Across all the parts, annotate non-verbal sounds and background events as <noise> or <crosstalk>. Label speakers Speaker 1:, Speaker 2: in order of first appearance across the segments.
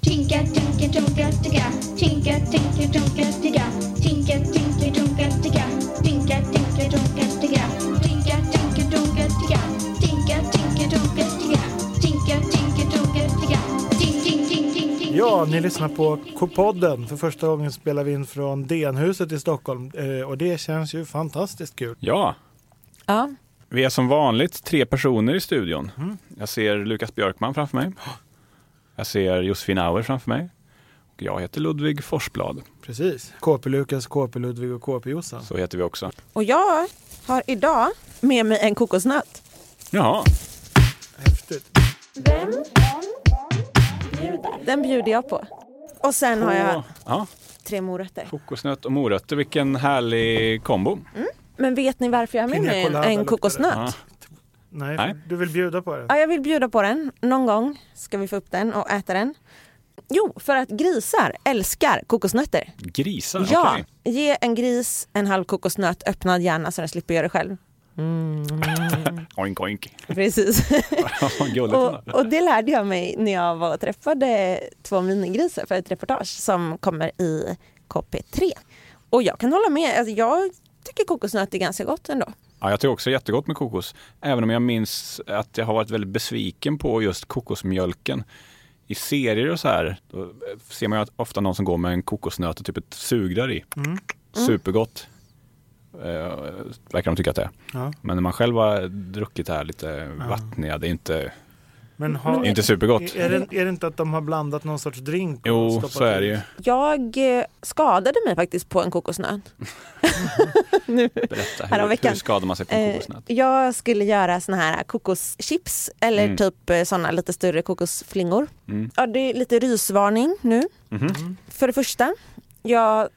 Speaker 1: Tinka, tinka, tonka, ticka. Tinka, tinka, tonka, ticka. Tinka, tinka, tonka, ticka. Tinka, tinka, tonka, ticka. Tinka, tinka, tonka, ticka. Tinka, tinka, tonka, ticka. Tinka, tinka, tonka, ticka. Tink, tink, tink, tink, tink.
Speaker 2: Ja, ni lyssnar på K-podden. För första gången spelar vi in från DN-huset i Stockholm eh, och det känns ju fantastiskt kul.
Speaker 3: Ja,
Speaker 4: Ja.
Speaker 3: vi är som vanligt tre personer i studion. Jag ser Lukas Björkman framför mig. Jag ser Josefin Auer framför mig. Och jag heter Ludvig Forsblad.
Speaker 2: Precis. KP-Lukas, KP-Ludvig och KP-Jossan.
Speaker 3: Så heter vi också.
Speaker 4: Och jag har idag med mig en kokosnöt.
Speaker 3: Jaha,
Speaker 2: Häftigt.
Speaker 4: Den bjuder jag på. Och sen har jag
Speaker 3: Och- ja,
Speaker 4: tre morötter.
Speaker 3: kokosnöt och morötter. Vilken härlig kombo.
Speaker 4: Men vet ni varför jag har med
Speaker 2: Piña
Speaker 4: mig en,
Speaker 2: colada luktar
Speaker 4: en
Speaker 2: det.
Speaker 3: Ja.
Speaker 4: kokosnöt?
Speaker 2: Nej,
Speaker 3: Nej.
Speaker 2: du vill bjuda på det?
Speaker 4: Ja, jag vill bjuda på den. Någon gång ska vi få upp den och äta den. Jo, för att grisar älskar kokosnötter.
Speaker 2: Mm,
Speaker 3: Grisar,
Speaker 4: Ja,
Speaker 3: okej.
Speaker 4: ge en gris en halv kokosnöt öppnad gärna så den slipper göra det själv.
Speaker 3: Oink, oink. <laughs>
Speaker 4: Precis. <laughs>
Speaker 3: Vad gulligt ändå.
Speaker 4: Och, och det lärde jag mig när jag var och träffade två minigrisar för ett reportage som kommer i KP3. Och jag kan hålla med, alltså jag tycker kokosnöt är ganska gott ändå.
Speaker 3: Ja, jag tycker också jättegott med kokos. Även om jag minns att jag har varit väldigt besviken på just kokosmjölken. I serier och så här, då ser man ju att ofta någon som går med en kokosnöt och typ ett sugrör i.
Speaker 2: Mm.
Speaker 3: Supergott. Eh, verkar de tycka att det är.
Speaker 2: Ja.
Speaker 3: Men när man själv har druckit det här lite vattniga, det är inte,
Speaker 2: Men har,
Speaker 3: det är inte supergott.
Speaker 2: är, det, är det inte att de har blandat någon sorts drink? och
Speaker 3: Jo,
Speaker 2: stoppat
Speaker 3: så är
Speaker 2: i?
Speaker 3: det ju.
Speaker 4: Jag eh, skadade mig faktiskt på en kokosnöt.
Speaker 3: Berätta, hur,
Speaker 4: Häromveckan.
Speaker 3: hur skadar man sig på en
Speaker 4: Eh,
Speaker 3: kokosnöt?
Speaker 4: jag skulle göra såna här kokoschips eller
Speaker 3: Mm.
Speaker 4: typ eh, såna lite större kokosflingor.
Speaker 3: Mm.
Speaker 4: Ja, det är lite rysvarning nu.
Speaker 3: Mhm.
Speaker 4: För det första, jag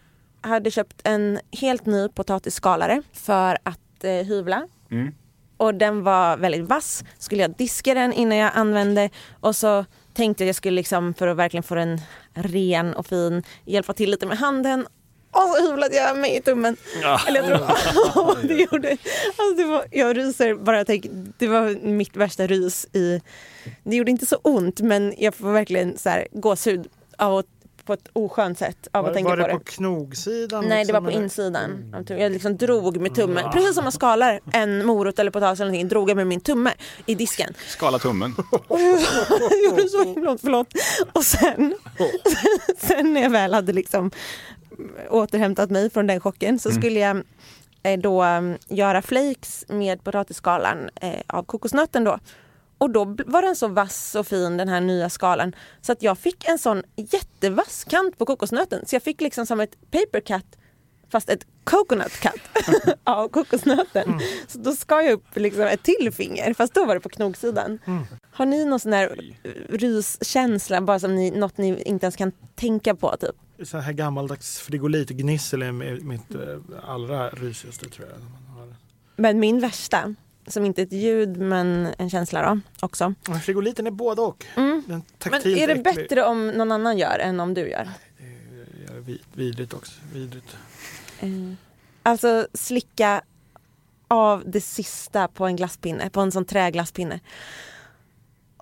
Speaker 4: hade köpt en helt ny potatisskalare för att eh, hyvla.
Speaker 3: Mm.
Speaker 4: Och den var väldigt vass. Skulle jag diska den innan jag använde och så tänkte jag jag skulle liksom för att verkligen få den ren och fin hjälpa till lite med handen. Och så hyvlade jag mig i tummen. Eller jag tror <laughs> det gjorde. Alltså det var, jag ryser bara jag tänker, det var mitt värsta rys i, det gjorde inte så ont men jag får verkligen så här gåshud av att, på ett oskönt sätt av att
Speaker 2: Var,
Speaker 4: tänka
Speaker 2: var
Speaker 4: på
Speaker 2: det
Speaker 4: det.
Speaker 2: på knogsidan?
Speaker 4: Nej, det
Speaker 2: liksom,
Speaker 4: var på
Speaker 2: eller?
Speaker 4: insidan. av tummen. Jag liksom drog med tummen. Precis som man skalar en morot eller potatis eller någonting, drog jag med min tumme i disken.
Speaker 2: <laughs>
Speaker 3: Skala tummen.
Speaker 4: Jag <laughs> gjorde så himla ont, förlåt. Och sen, sen när jag väl hade liksom återhämtat mig från den chocken så skulle jag eh, då eh, göra flakes med potatisskalan eh, av kokosnöten då. Och då bl- var den så vass och fin den här nya skalan så att jag fick en sån jättevass kant på kokosnöten så jag fick liksom som ett paper cut fast ett coconut cut av kokosnöten. Så då skar jag upp liksom ett till finger fast då var det på knogsidan. Har ni någon sån här ryskänsla bara som ni, något ni inte ens kan tänka på typ?
Speaker 2: Så här gammaldags frigolitgnissel är mi- mitt eh, allra rysigaste tror jag. Man har.
Speaker 4: Men min värsta, som inte är ett ljud men en känsla då också.
Speaker 2: Men Frigoliten är både och. Den
Speaker 4: Mm. Men
Speaker 2: taktilt
Speaker 4: är det
Speaker 2: äcklig.
Speaker 4: bättre om någon annan gör än om du gör?
Speaker 2: Ja, vi- Vidrigt också. Vidrigt.
Speaker 4: Alltså slicka av det sista på en glasspinne, på en sån träglasspinne.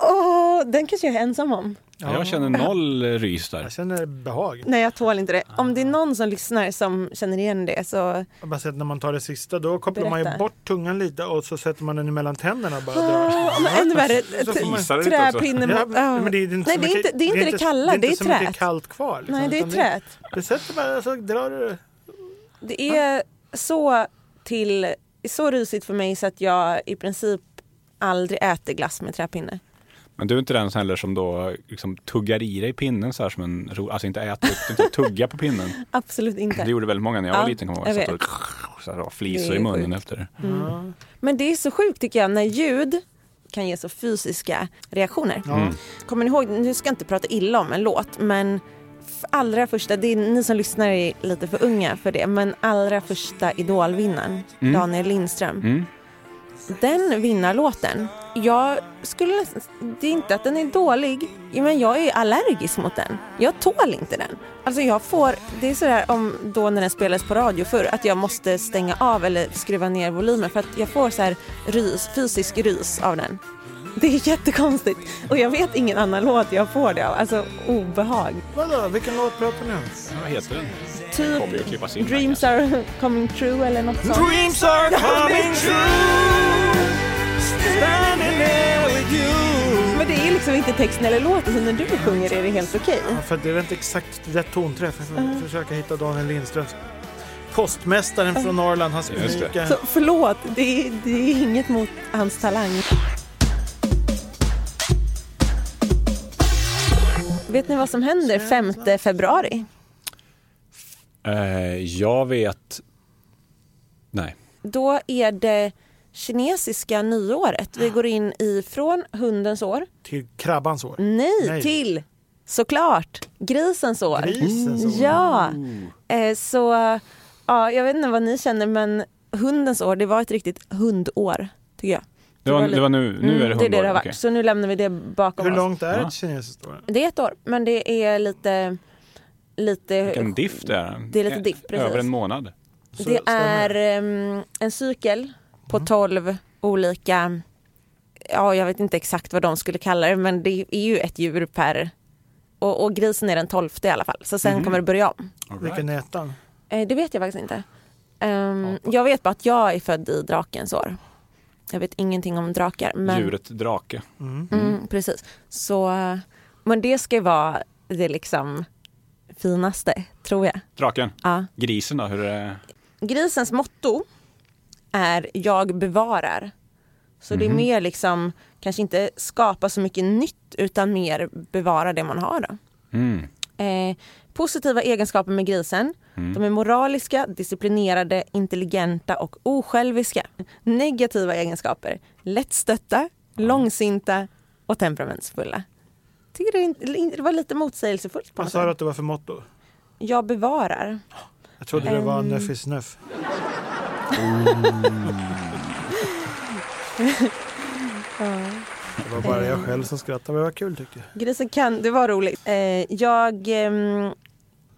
Speaker 4: Åh, den kanske jag är ensam om.
Speaker 3: Ja, jag känner noll rys där.
Speaker 2: Jag känner behag.
Speaker 4: Nej, jag tål inte det. Om det är någon som lyssnar som känner igen det så...
Speaker 2: Jag bara sett när man tar det sista då kopplar man ju
Speaker 4: Berätta. Ah,
Speaker 2: bort tungan lite och så sätter man den emellan tänderna och bara drar.
Speaker 4: Men ännu värre, t-
Speaker 3: fisar det lite också.
Speaker 4: träpinne...
Speaker 2: Ja,
Speaker 4: mot- ah.
Speaker 2: men det är inte
Speaker 4: Nej,
Speaker 2: så
Speaker 4: det är
Speaker 2: mycket-
Speaker 4: inte det, är inte det kalla, det är
Speaker 2: inte så mycket
Speaker 4: trät.
Speaker 2: kallt kvar. liksom,
Speaker 4: Nej, det är
Speaker 2: utan
Speaker 4: trät.
Speaker 2: Du sätter bara så drar du det.
Speaker 4: Det är så till så rusigt för mig så att jag i princip aldrig äter glass med träpinne.
Speaker 3: Men du är inte den som heller som då liksom tuggar i dig pinnen så här som en ro, alltså inte äta upp den, utan tugga på pinnen.
Speaker 4: <laughs> Absolut
Speaker 3: Det
Speaker 4: inte.
Speaker 3: gjorde väldigt många när jag var
Speaker 4: Ja,
Speaker 3: liten kommer
Speaker 4: jag
Speaker 3: jag ihåg. Så här, och flisor
Speaker 4: Det
Speaker 3: i
Speaker 4: är
Speaker 3: munnen
Speaker 4: sjukt.
Speaker 3: efter det.
Speaker 4: Men det är så sjukt tycker jag när ljud kan ge så fysiska reaktioner.
Speaker 3: Mm.
Speaker 4: Kommer ni ihåg, nu ska jag inte prata illa om en låt men f- allra första, det är ni som lyssnar är lite för unga för det, men allra första idolvinnaren
Speaker 3: Mm.
Speaker 4: Daniel Lindström.
Speaker 3: Mm.
Speaker 4: Den vinnarlåten, jag skulle nästan- det är inte att den är dålig, men jag är allergisk mot den. Jag tål inte den. Alltså jag får, det är sådär om då när den spelades på radio förr, att jag måste stänga av eller skruva ner volymen för att jag får så här rys, fysisk rys av den. Det är jättekonstigt. Och jag vet ingen annan låt jag får det av. Alltså obehag.
Speaker 2: Vadå, vilken låt pratar
Speaker 4: <laughs>
Speaker 2: ni om?
Speaker 3: Vad heter den?
Speaker 4: Typ
Speaker 3: Kommer ju att klippas in.
Speaker 4: Dreams are coming true eller något sånt.
Speaker 2: Dreams are coming true Standing there with you
Speaker 4: Men det är liksom inte texten eller låten, så när du sjunger är det helt okej.
Speaker 2: Ja, för det är inte exakt rätt tonträff. Jag får försöka hitta Daniel Lindströms postmästaren från Norrland, hans
Speaker 3: Just det.
Speaker 2: unika...
Speaker 4: Så förlåt, det är, det är inget mot hans talang. Vet ni vad som händer 5 februari?
Speaker 3: Eh, jag vet... Nej.
Speaker 4: Då är det kinesiska nyåret. Vi går in i från hundens år,
Speaker 2: Till krabbans år.
Speaker 4: nej,
Speaker 2: Nej.
Speaker 4: till såklart grisens år.
Speaker 2: Grisens år.
Speaker 4: Ja, eh, så ja, jag vet inte vad ni känner men hundens år, det var ett riktigt hundår tycker jag.
Speaker 3: Det var,
Speaker 4: lite-
Speaker 3: det var nu, nu är det
Speaker 4: Mm, det är det det har
Speaker 3: hundår.
Speaker 4: varit.
Speaker 3: Okej.
Speaker 4: Så nu lämnar vi det bakom
Speaker 2: Hur
Speaker 4: oss.
Speaker 2: långt är
Speaker 3: Ja.
Speaker 2: ett kinesiskt år?
Speaker 4: Det är ett år, men det är lite... lite
Speaker 3: Vilken diff det är.
Speaker 4: Det är lite diff,
Speaker 3: Eh,
Speaker 4: precis.
Speaker 3: Över en månad.
Speaker 2: Så
Speaker 4: det
Speaker 2: stämmer
Speaker 4: är ehm, en cykel på 12 olika... Ja, jag vet inte exakt vad de skulle kalla det, men det är ju ett djur per... Och, och grisen är den 12 i alla fall, så
Speaker 3: Mhm.
Speaker 4: sen kommer det börja om.
Speaker 2: Vilken är ettan?
Speaker 4: Eh, det vet jag faktiskt inte. Ehm, jag vet bara att jag är född i drakens år. Jag vet ingenting om drakar. Men...
Speaker 3: Djuret drake.
Speaker 4: Mm, precis. Så, men det ska ju vara det liksom finaste, tror jag.
Speaker 3: Draken.
Speaker 4: Ja.
Speaker 3: Grisen då, hur är det?
Speaker 4: Grisens motto är jag bevarar. Så det är mer liksom, kanske inte skapa så mycket nytt utan mer bevara det man har. Då.
Speaker 3: Mm.
Speaker 4: Eh, positiva egenskaper med grisen.
Speaker 2: Mm.
Speaker 4: De är moraliska, disciplinerade, intelligenta och osjälviska. Negativa egenskaper. Lättstötta, långsinta och temperamentsfulla. Tycker det, är inte- det var lite motsägelsefullt på
Speaker 2: Vad
Speaker 4: något
Speaker 2: sa du
Speaker 4: sätt.
Speaker 2: att det var för motto?
Speaker 4: Jag bevarar.
Speaker 2: Jag trodde det
Speaker 4: Ehm.
Speaker 2: var nöffisnöff.
Speaker 4: Mm.
Speaker 2: <laughs> Det var bara jag själv som skrattade, men det var kul tyckte jag.
Speaker 4: Grisen kan, det var roligt. Eh, jag, ehm,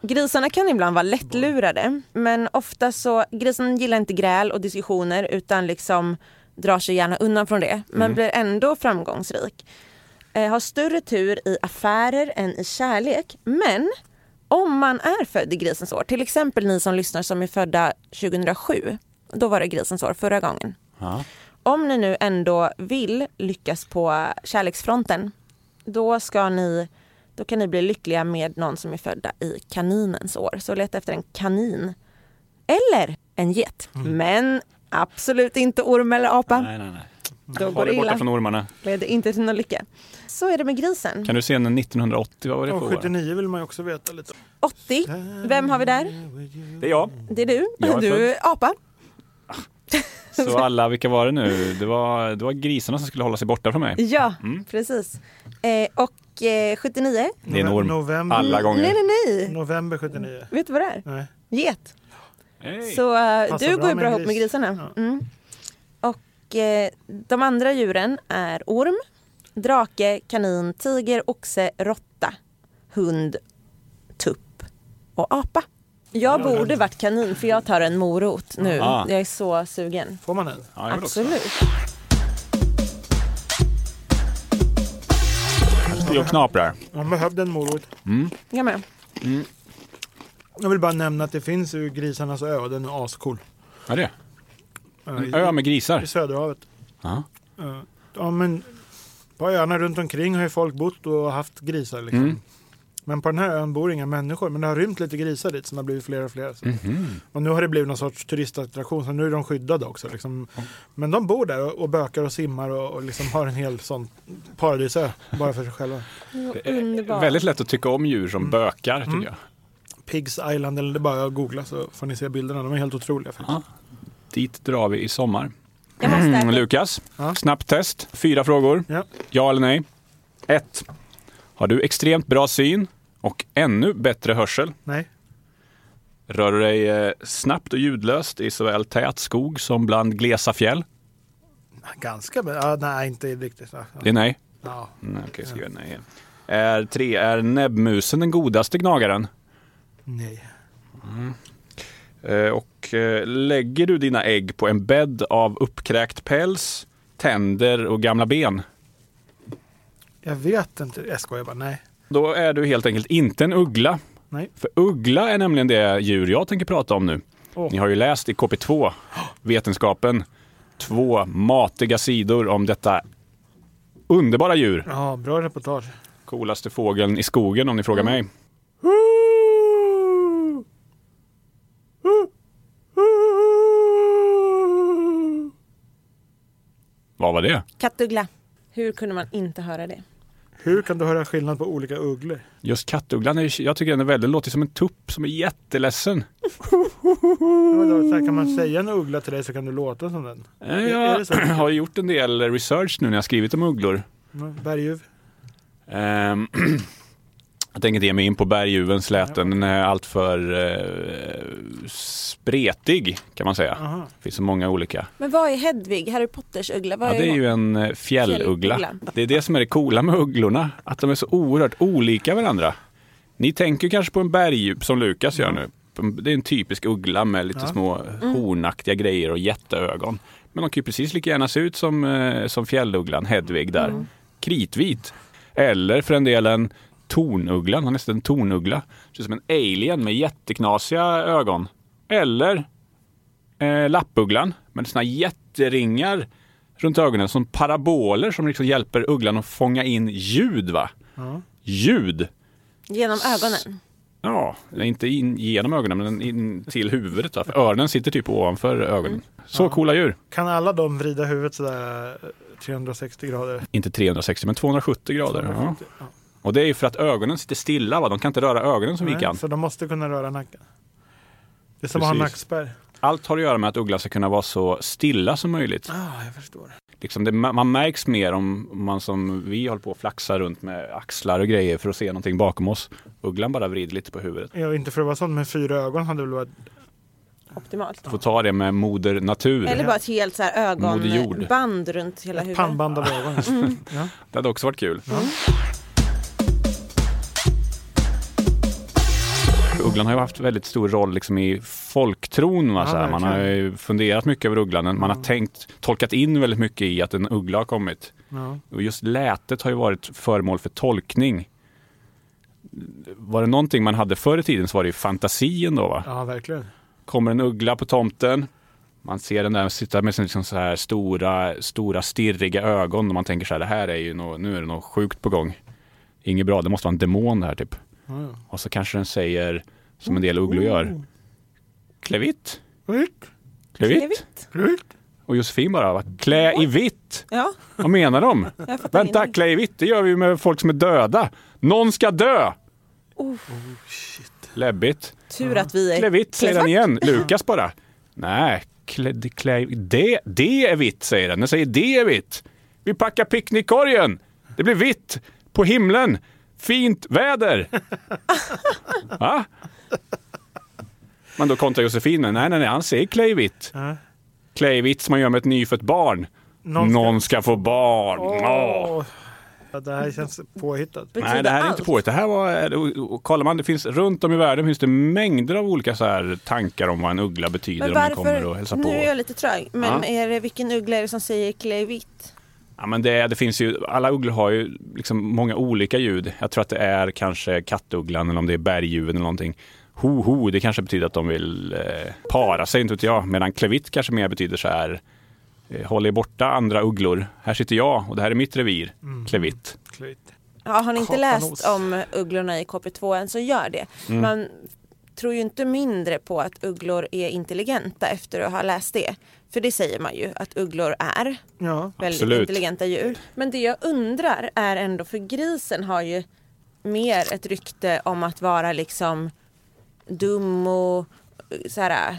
Speaker 4: grisarna kan ibland vara lättlurade men ofta så, grisen gillar inte gräl och diskussioner utan liksom drar sig gärna undan från det men blir ändå framgångsrik. Eh, har större tur i affärer än i kärlek men om man är född i grisens år, till exempel ni som lyssnar som är födda 2007, då var det grisens år förra gången.
Speaker 3: Ja.
Speaker 4: Om ni nu ändå vill lyckas på kärleksfronten, då, ska ni, då kan ni bli lyckliga med någon som är födda i kaninens år. Så leta efter en kanin eller en get. Men absolut inte orm eller apa.
Speaker 3: Nej, nej, nej.
Speaker 4: Då går
Speaker 3: Håll
Speaker 4: det
Speaker 3: dig borta
Speaker 4: illa.
Speaker 3: från ormarna.
Speaker 4: Leder inte till någon lycka. Så är det med grisen.
Speaker 3: Kan du se den 1980? Vad var det
Speaker 2: Och
Speaker 3: för år?
Speaker 2: 79 vill man ju också veta lite om.
Speaker 4: 80. Vem har vi där?
Speaker 3: Det är jag.
Speaker 4: Det är du.
Speaker 3: Jag är
Speaker 4: du är apa.
Speaker 3: Så alla, vilka var det nu? Det var, det var grisarna som skulle hålla sig borta från mig.
Speaker 4: Ja,
Speaker 3: Mm.
Speaker 4: precis. Eh, och eh, 79.
Speaker 3: Det är en orm.
Speaker 2: November,
Speaker 3: Alla gånger.
Speaker 4: Nej, nej, nej.
Speaker 2: november 79.
Speaker 4: Vet du vad det är?
Speaker 2: Nej.
Speaker 4: Get.
Speaker 3: Hej.
Speaker 4: Så eh,
Speaker 2: Passar
Speaker 4: du
Speaker 2: bra
Speaker 4: går ju
Speaker 2: med
Speaker 4: bra
Speaker 2: en
Speaker 4: ihop
Speaker 2: gris.
Speaker 4: med grisarna. Mm. Och eh, de andra djuren är orm, drake, kanin, tiger, oxe, råtta, hund, tupp och apa. Jag borde varit kanin för jag tar en morot nu.
Speaker 3: Ah.
Speaker 4: Jag är så sugen.
Speaker 2: Får man den?
Speaker 3: Ja, jag vill också.
Speaker 4: Absolut.
Speaker 3: Sitter och knaprar.
Speaker 2: Man behövde en morot.
Speaker 4: Jag med.
Speaker 2: Jag vill bara nämna att det finns ju Grisarnas ö och den är ascool.
Speaker 3: Ja, det.
Speaker 2: Eh,
Speaker 3: En
Speaker 2: i-
Speaker 3: ö med
Speaker 2: I
Speaker 3: grisar.
Speaker 2: Söderhavet.
Speaker 3: Ja.
Speaker 2: Eh, Ja, men på öarna runt omkring har ju folk bott och haft grisar. Liksom. Men på den här ön bor inga människor. Men det har rymt lite grisar dit som har blivit fler och fler. Så. Och nu har det blivit någon sorts turistattraktion. Så nu är de skyddade också. Liksom. Men de bor där och, och bökar och simmar och, och liksom har en hel sån paradisö bara för sig själva.
Speaker 4: Underbar.
Speaker 3: Väldigt lätt att tycka om djur som bökar, tycker jag.
Speaker 2: Pigs Island, eller det är bara att googla så får ni se bilderna. De är helt otroliga. faktiskt.
Speaker 3: Ja. Dit drar vi i sommar. Mm.
Speaker 4: Jag måste äta.
Speaker 3: Lukas,
Speaker 2: Ja.
Speaker 3: snabbt test. Fyra frågor.
Speaker 2: Ja.
Speaker 3: Ja eller nej? 1. Har du extremt bra syn och ännu bättre hörsel?
Speaker 2: Nej,
Speaker 3: Rör du dig eh, snabbt och ljudlöst i såväl tät skog som bland glesa fjäll?
Speaker 2: ganska bra. Ja, nej, inte riktigt. Ja.
Speaker 3: Det är nej.
Speaker 2: Ja.
Speaker 3: nej okej, skriv nej. Är, tre, är näbbmusen den godaste gnagaren?
Speaker 2: Nej.
Speaker 3: Eh, Och eh, lägger du dina ägg på en bädd av uppkräkt päls, tänder och gamla ben?
Speaker 2: Jag vet inte. Jag skojar bara. Nej.
Speaker 3: Då är du helt enkelt inte en uggla.
Speaker 2: Nej.
Speaker 3: För uggla är nämligen det djur jag tänker prata om nu.
Speaker 2: Åh.
Speaker 3: Ni har ju läst i KP2, Vetenskapen, två matiga sidor om detta underbara djur.
Speaker 2: Ja, bra reportage.
Speaker 3: Coolaste fågeln i skogen om ni frågar mig. Vad var det?
Speaker 4: Kattuggla. Hur kunde man inte höra det?
Speaker 2: Hur kan du höra skillnad på olika ugglor?
Speaker 3: Just kattugglan, är, jag tycker den är väldigt, låter som en tupp som är jätteledsen.
Speaker 2: Ja, men då, så här, kan man säga en uggla till dig så kan du låta som den.
Speaker 3: Eh,
Speaker 2: är det så?
Speaker 3: Jag <clears throat> har gjort en del research nu när jag skrivit om ugglor.
Speaker 2: Mm, Berguv.
Speaker 3: Ehm, <clears throat> Jag tänker inte ge mig in på berguvens läten. Den är alltför eh, spretig kan man säga.
Speaker 2: Aha.
Speaker 3: Det finns så många olika.
Speaker 4: Men vad är Hedvig, Harry Potters uggla? Vad
Speaker 3: Ja, det är
Speaker 4: hon?
Speaker 3: ju en eh, fjälluggla.
Speaker 4: Fjälluggla.
Speaker 3: Det är det som är det coola med ugglorna. Att de är så oerhört olika varandra. Ni tänker kanske på en berguv som Lukas gör nu. Det är en typisk uggla med lite
Speaker 2: Ja.
Speaker 3: små hornaktiga grejer och jätteögon. Men de kan ju precis lika gärna se ut som, eh, som fjällugglan Hedvig där. Kritvit. Eller för den delen tornugglan. Han är nästan en tornuggla. Ser ut som en alien med jätteknasiga ögon. Eller eh, lappugglan med såna jätteringar runt ögonen som paraboler som liksom hjälper ugglan att fånga in ljud. va?
Speaker 2: Ja.
Speaker 3: Ljud!
Speaker 4: Genom ögonen.
Speaker 3: Ja, inte in genom ögonen men in till huvudet. Va? För öronen sitter typ ovanför ögonen. Så coola djur!
Speaker 2: Kan alla de vrida huvudet sådär eh, 360 grader?
Speaker 3: Inte 360 men 270 grader. Ja.
Speaker 2: Ja.
Speaker 3: Och det är ju för att ögonen sitter stilla. Va? De kan inte röra ögonen som vi
Speaker 2: Nej,
Speaker 3: kan.
Speaker 2: Så de måste kunna röra nacken. Det är som att ha
Speaker 3: Precis.
Speaker 2: nackspärr.
Speaker 3: Allt har att göra med att ugglan ska kunna vara så stilla som möjligt.
Speaker 2: Ah, jag förstår.
Speaker 3: liksom det, man märks mer om man som vi håller på och flaxar runt med axlar och grejer för att se någonting bakom oss. Ugglan bara vrider lite på huvudet.
Speaker 2: Ja, inte för att vara sån med fyra ögon hade väl varit...
Speaker 4: Optimalt.
Speaker 3: Får ta det med moder natur.
Speaker 4: Eller bara ett helt så här
Speaker 3: Moder Jord.
Speaker 4: ögonband runt hela
Speaker 2: Ett
Speaker 4: huvudet.
Speaker 2: pannband av <laughs> ögon. Ja. Mm.
Speaker 3: Det hade också varit kul. Ugglan har ju haft väldigt stor roll liksom i folktron. Va?
Speaker 2: Ja,
Speaker 3: så här. Man har
Speaker 2: verkligen.
Speaker 3: ju funderat mycket över ugglan. Man har tänkt, tolkat in väldigt mycket i att en uggla har kommit.
Speaker 2: Ja.
Speaker 3: Och just lätet har ju varit föremål för tolkning. Var det någonting man hade förr i tiden så var det ju fantasin då va?
Speaker 2: ja, verkligen.
Speaker 3: Kommer en uggla på tomten, man ser den där sitta med sina liksom så här stora, stora stirriga ögon och man tänker så här, det här är ju nå, nu är det något sjukt på gång. Inget bra, det måste vara en demon det här typ.
Speaker 2: Ja, ja.
Speaker 3: Och så kanske den säger, som en del ugglor gör, klevitt,
Speaker 2: Vitt,
Speaker 3: klevitt.
Speaker 2: vitt.
Speaker 3: Och Josefin bara, va? klä i vitt.
Speaker 4: Ja,
Speaker 3: Vad menar de?
Speaker 4: <laughs> jag fattar
Speaker 3: Vänta,
Speaker 4: ingenting.
Speaker 3: klä i vitt, det gör vi ju med folk som är döda. Någon ska dö! Läbbigt.
Speaker 4: Tur att vi är...
Speaker 3: Klä vitt, säger den
Speaker 4: Kläsvart.
Speaker 3: igen. Lukas bara. Nej, klä, klä, det, det är vitt, säger den. Den säger det är vitt. Vi packar picknickkorgen. Det blir vitt på himlen. Fint <laughs> väder. Va? Men då kontrar Josefin. Nej, nej, nej, han säger klä i vitt.
Speaker 2: Ja.
Speaker 3: Klä i vitt som man gör med ett nyfött barn.
Speaker 2: Någon
Speaker 3: Någon
Speaker 2: ska-
Speaker 3: ska, få barn. Åh.
Speaker 2: Åh. Ja, det här känns påhittat.
Speaker 4: Betyder
Speaker 3: Nej, det här är
Speaker 4: allt.
Speaker 3: inte påhitt. Det här var, eh, och- och kollar man, det finns runt om i världen finns det mängder av olika så här tankar om vad en uggla betyder om den kommer och hälsar
Speaker 4: nu
Speaker 3: på.
Speaker 4: är jag lite trög, men
Speaker 3: Ja.
Speaker 4: är det, vilken uggla är det som säger klä vitt?
Speaker 3: Ja, men det, det finns ju, alla ugglor har ju liksom många olika ljud. Jag tror att det är kanske kattugglan eller om det är berguven eller någonting. Ho, ho, det kanske betyder att de vill eh, para sig, inte vet jag. Medan klevitt kanske mer betyder så här, eh, håll er borta andra ugglor. Här sitter jag och det här är mitt revir,
Speaker 4: Mm.
Speaker 3: klevitt.
Speaker 2: Klöjt.
Speaker 4: Ja, har ni inte
Speaker 2: Kapanos.
Speaker 4: läst om ugglorna i KP2 än så gör det.
Speaker 3: Mm.
Speaker 4: Man tror ju inte mindre på att ugglor är intelligenta efter att ha läst det. För det säger man ju att ugglor är.
Speaker 2: Ja.
Speaker 4: Väldigt
Speaker 3: Absolut.
Speaker 4: intelligenta djur. Men det jag undrar är ändå, för grisen har ju mer ett rykte om att vara liksom dum och eh, så här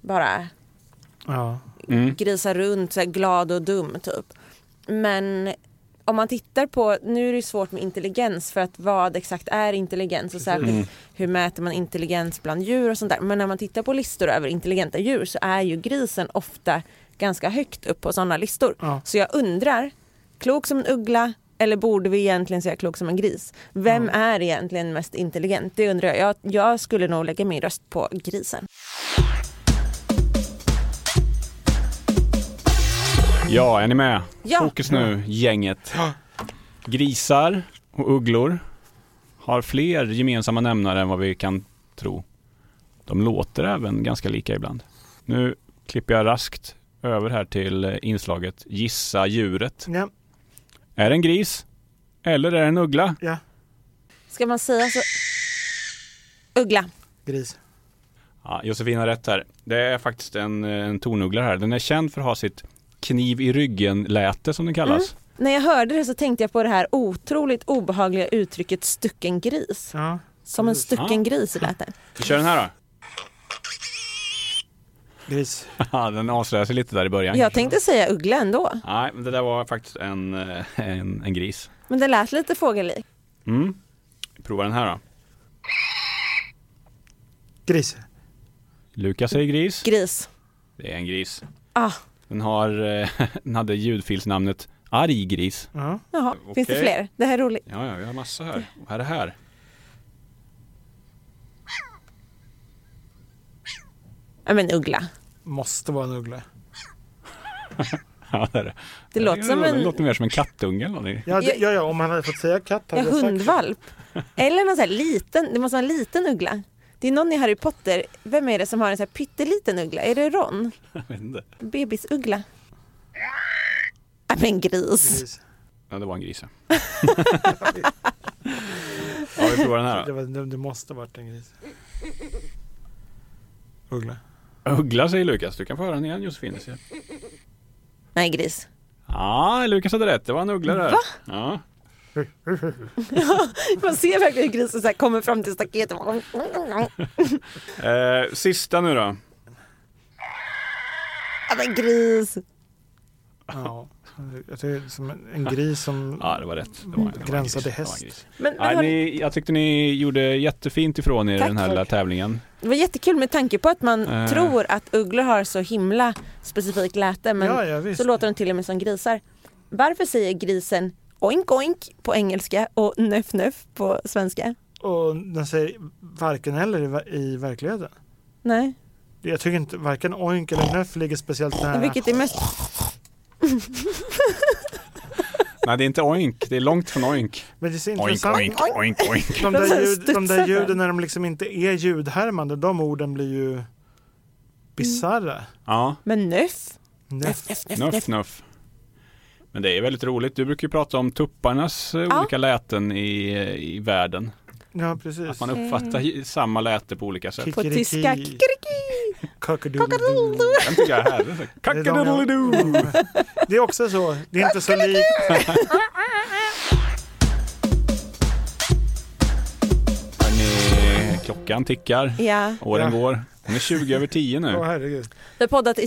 Speaker 4: bara
Speaker 2: ja.
Speaker 4: grisa runt, så här, glad och dum typ. Men om man tittar på, nu är det ju svårt med intelligens för att vad exakt är intelligens och särskilt hur mäter man intelligens bland djur och sånt där. Men när man tittar på listor över intelligenta djur så är ju grisen ofta ganska högt upp på sådana listor.
Speaker 2: Ja.
Speaker 4: Så jag undrar, klok som en uggla eller borde vi egentligen säga klok som en gris? Vem är egentligen mest intelligent? Det undrar jag. jag. Jag skulle nog lägga min röst på grisen.
Speaker 3: Ja, är ni med?
Speaker 4: Ja.
Speaker 3: Fokus nu, gänget. Grisar och ugglor har fler gemensamma nämnare än vad vi kan tro. De låter även ganska lika ibland. Nu klipper jag raskt över här till eh, inslaget Gissa djuret.
Speaker 2: Ja,
Speaker 3: Är det en gris? Eller är det en uggla?
Speaker 2: ja.
Speaker 4: Ska man säga så? Uggla.
Speaker 2: Gris.
Speaker 3: Ja, Josefin har rätt här. Det är faktiskt en, eh, en tornuggla här. Den är känd för att ha sitt kniv i ryggen-läte som den kallas.
Speaker 4: När jag hörde det så tänkte jag på det här otroligt obehagliga uttrycket stucken gris.
Speaker 2: Ja.
Speaker 4: Som en stucken gris lät det.
Speaker 3: Vi kör den här då. <laughs>
Speaker 2: Gris.
Speaker 3: Haha, den avslöjar sig lite där i början.
Speaker 4: Jag tänkte säga uggla ändå.
Speaker 3: Nej, men det där var faktiskt en, eh, en, en gris.
Speaker 4: Men det lät lite fågellik.
Speaker 3: Mm. Prova den här då.
Speaker 2: Gris.
Speaker 3: Lukas säger gris.
Speaker 4: Gris.
Speaker 3: Det är en gris.
Speaker 4: Ah,
Speaker 3: Den, har, eh, <laughs> den hade ljudfilsnamnet arg gris.
Speaker 2: Ja.
Speaker 4: jaha. Finns det
Speaker 3: Okej.
Speaker 4: fler? Det här är roligt.
Speaker 3: Ja, ja, vi har massa här. Och här är här.
Speaker 4: Ja men uggla.
Speaker 2: Måste vara en uggla.
Speaker 3: <laughs> Ja, det är det.
Speaker 4: Det låter som
Speaker 3: det
Speaker 4: en-
Speaker 3: låter mer som en kattunge eller någonting.
Speaker 2: Ja, det,
Speaker 4: Jag-
Speaker 2: ja, ja, om han hade fått säga katt
Speaker 4: Ja,
Speaker 2: hade jag sagt.
Speaker 4: hundvalp.
Speaker 3: <laughs>
Speaker 4: Eller någon sån här liten, det måste vara en liten uggla. Det är någon i Harry Potter, vem är det som har en sån här pytteliten uggla? Är det Ron?
Speaker 3: Jag vet inte.
Speaker 4: Bebisuggla? Ja Ah, men gris.
Speaker 2: Gris.
Speaker 3: Ja, det var en gris. ja.
Speaker 4: <laughs>
Speaker 3: ja, vi provar den här
Speaker 2: Det,
Speaker 3: då.
Speaker 2: var, det, det måste varit en gris. Uggla.
Speaker 3: <laughs> Uggla säger Lukas. Du kan få höra den igen Josefin. Ja,
Speaker 4: Nej gris.
Speaker 3: ah, Lukas hade rätt. Det var en uggla där. Va? Ja.
Speaker 4: Man ser verkligen hur grisen så här kommer fram till staketet. "Mm,
Speaker 3: Eh, sista nu då.
Speaker 4: Ja men Alltså, gris.
Speaker 2: Ja. Jag tycker det är som en, en gris som...
Speaker 3: Ja, det var rätt. Det var, det var en gris.
Speaker 2: Gränsade
Speaker 3: Det var en
Speaker 2: Mm. häst.
Speaker 3: gris.
Speaker 4: Men, men
Speaker 3: Nej,
Speaker 4: har,
Speaker 3: ni, jag tyckte ni gjorde jättefint ifrån er i
Speaker 4: Tack,
Speaker 3: den här lilla
Speaker 4: tack.
Speaker 3: tävlingen.
Speaker 4: det var jättekul med tanke på att man
Speaker 3: Eh.
Speaker 4: tror att ugglor har så himla specifikt läte men
Speaker 2: ja, ja, visst.
Speaker 4: så låter de till och med som grisar. Varför säger grisen oink oink på engelska och nöff nöff på svenska?
Speaker 2: Och den säger varken eller i, ver- i verkligheten.
Speaker 4: Nej.
Speaker 2: Jag tycker inte varken oink eller nöff ligger speciellt nära.
Speaker 4: Vilket är mest...
Speaker 3: Nej, det är inte oink. Det är långt från oink.
Speaker 2: Men det är så intressant.
Speaker 3: oink, oink.
Speaker 2: De,
Speaker 4: De så
Speaker 2: där
Speaker 4: här
Speaker 2: ljud, de där
Speaker 4: studsar.
Speaker 2: ljuden när de liksom inte är ljudhärmande, de orden blir ju
Speaker 4: Mm.
Speaker 2: bisarra.
Speaker 3: Ja,
Speaker 4: Men nöff?
Speaker 2: Nöff.
Speaker 3: nuff, nuff. Men det är väldigt roligt. Du brukar ju prata om tupparnas eh,
Speaker 4: Ja.
Speaker 3: olika läten i, eh, i världen.
Speaker 2: Ja,
Speaker 3: Att
Speaker 2: precis.
Speaker 3: man uppfattar ju samma läte på olika sätt.
Speaker 4: På
Speaker 2: Kikiriki.
Speaker 4: tyska. Kikriki.
Speaker 2: <laughs> Cockadoodle-doo.
Speaker 3: Den tycker jag är härlig. Så-
Speaker 2: Det är de jag-
Speaker 3: Kackadoodledoo.
Speaker 2: Det är också så. Det är inte så likt.
Speaker 3: Hörni, Klockan tickar.
Speaker 4: Ja.
Speaker 3: Åren
Speaker 2: Ja.
Speaker 3: går. Hon är 20 över 10
Speaker 2: Åh
Speaker 3: nu.
Speaker 2: herregud.
Speaker 4: Vi har poddat i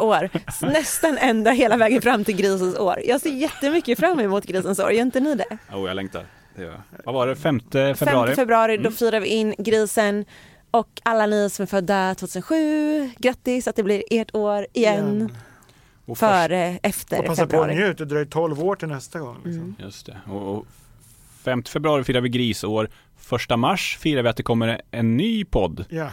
Speaker 2: <laughs>
Speaker 4: år, s- nästan ända hela vägen fram till grisens år. Jag ser jättemycket fram emot grisens år, gör inte ni det?
Speaker 3: Oh, jag längtar. Det gör jag. Vad var det? 5 februari?
Speaker 4: 5 februari,
Speaker 2: Mm.
Speaker 4: då firar vi in grisen och alla ni som är födda 2007, grattis att det blir ert år igen,
Speaker 3: Och först-
Speaker 4: före, efter
Speaker 2: Och passa på att
Speaker 4: februari.
Speaker 2: njut. Det dröjer 12 år till nästa gång.
Speaker 4: Mm.
Speaker 2: Liksom.
Speaker 3: Just det. Och, och 5 februari firar vi grisår. 1 mars firar vi att det kommer en ny podd.
Speaker 2: Ja.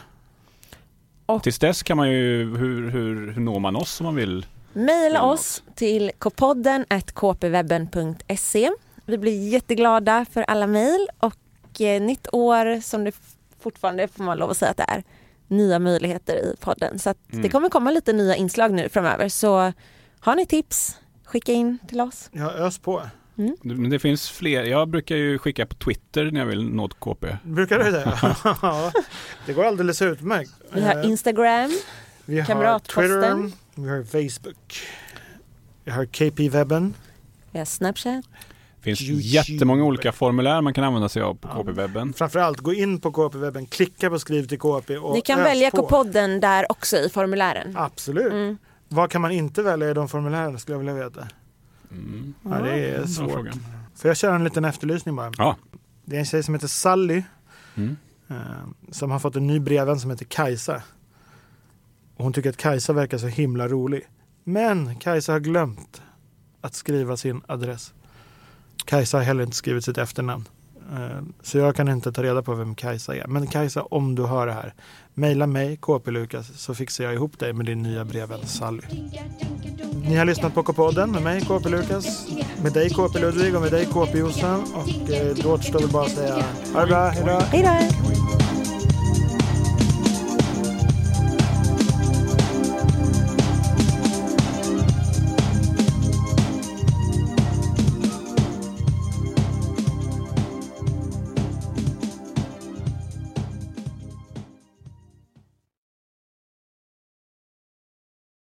Speaker 3: Tills dess kan man ju, hur, hur, hur når man oss om man vill?
Speaker 4: Maila oss till kpodden at kpwebben.se. Vi blir jätteglada för alla mejl och eh, nytt år som det f- fortfarande får man lov att säga att det är nya möjligheter i podden. Så att det kommer komma lite nya inslag nu framöver. Så har ni tips, skicka in till oss.
Speaker 2: ja, ös på.
Speaker 3: Men det finns fler. Jag brukar ju skicka på Twitter när jag vill nå ett KP.
Speaker 2: Brukar du
Speaker 3: <laughs>
Speaker 2: det? Ja. det går alldeles utmärkt.
Speaker 4: Vi har
Speaker 2: Eh,
Speaker 4: Instagram,
Speaker 2: vi har
Speaker 4: kamratposten.
Speaker 2: Twitter, vi har Facebook, vi har KP-webben.
Speaker 4: vi har Snapchat.
Speaker 3: Det finns
Speaker 2: YouTube.
Speaker 3: jättemånga olika formulär man kan använda sig av på KP-webben.
Speaker 2: Framförallt gå in på KP-webben, klicka på skriv till KP och
Speaker 4: Ni kan
Speaker 2: ös
Speaker 4: välja Mm.
Speaker 2: på.
Speaker 4: kpodden där också i formulären.
Speaker 2: Absolut. Vad kan man inte välja i de formulären skulle jag vilja veta. Ja, det är
Speaker 3: Mm. Bra
Speaker 2: svårt.
Speaker 3: fråga.
Speaker 2: Får jag köra en liten efterlysning bara?
Speaker 3: Ja,
Speaker 2: Det är en tjej som heter Sally
Speaker 3: Mm.
Speaker 2: eh, som har fått en ny brevvän som heter Kajsa. Och hon tycker att Kajsa verkar så himla rolig. Men Kajsa har glömt att skriva sin adress. Kajsa har heller inte skrivit sitt efternamn. Eh, Så jag kan inte ta reda på vem Kajsa är. Men Kajsa, om du hör det här, mejla mig, KP Lukas, så fixar jag ihop dig med din nya brevvän Sally.
Speaker 1: Ni har lyssnat på K-podden med mig, KP Lukas, med dig KP Ludvig och med dig KP Jossan. Och eh, då återstår väl bara att säga
Speaker 2: ha det bra, hejdå!
Speaker 4: Hej då!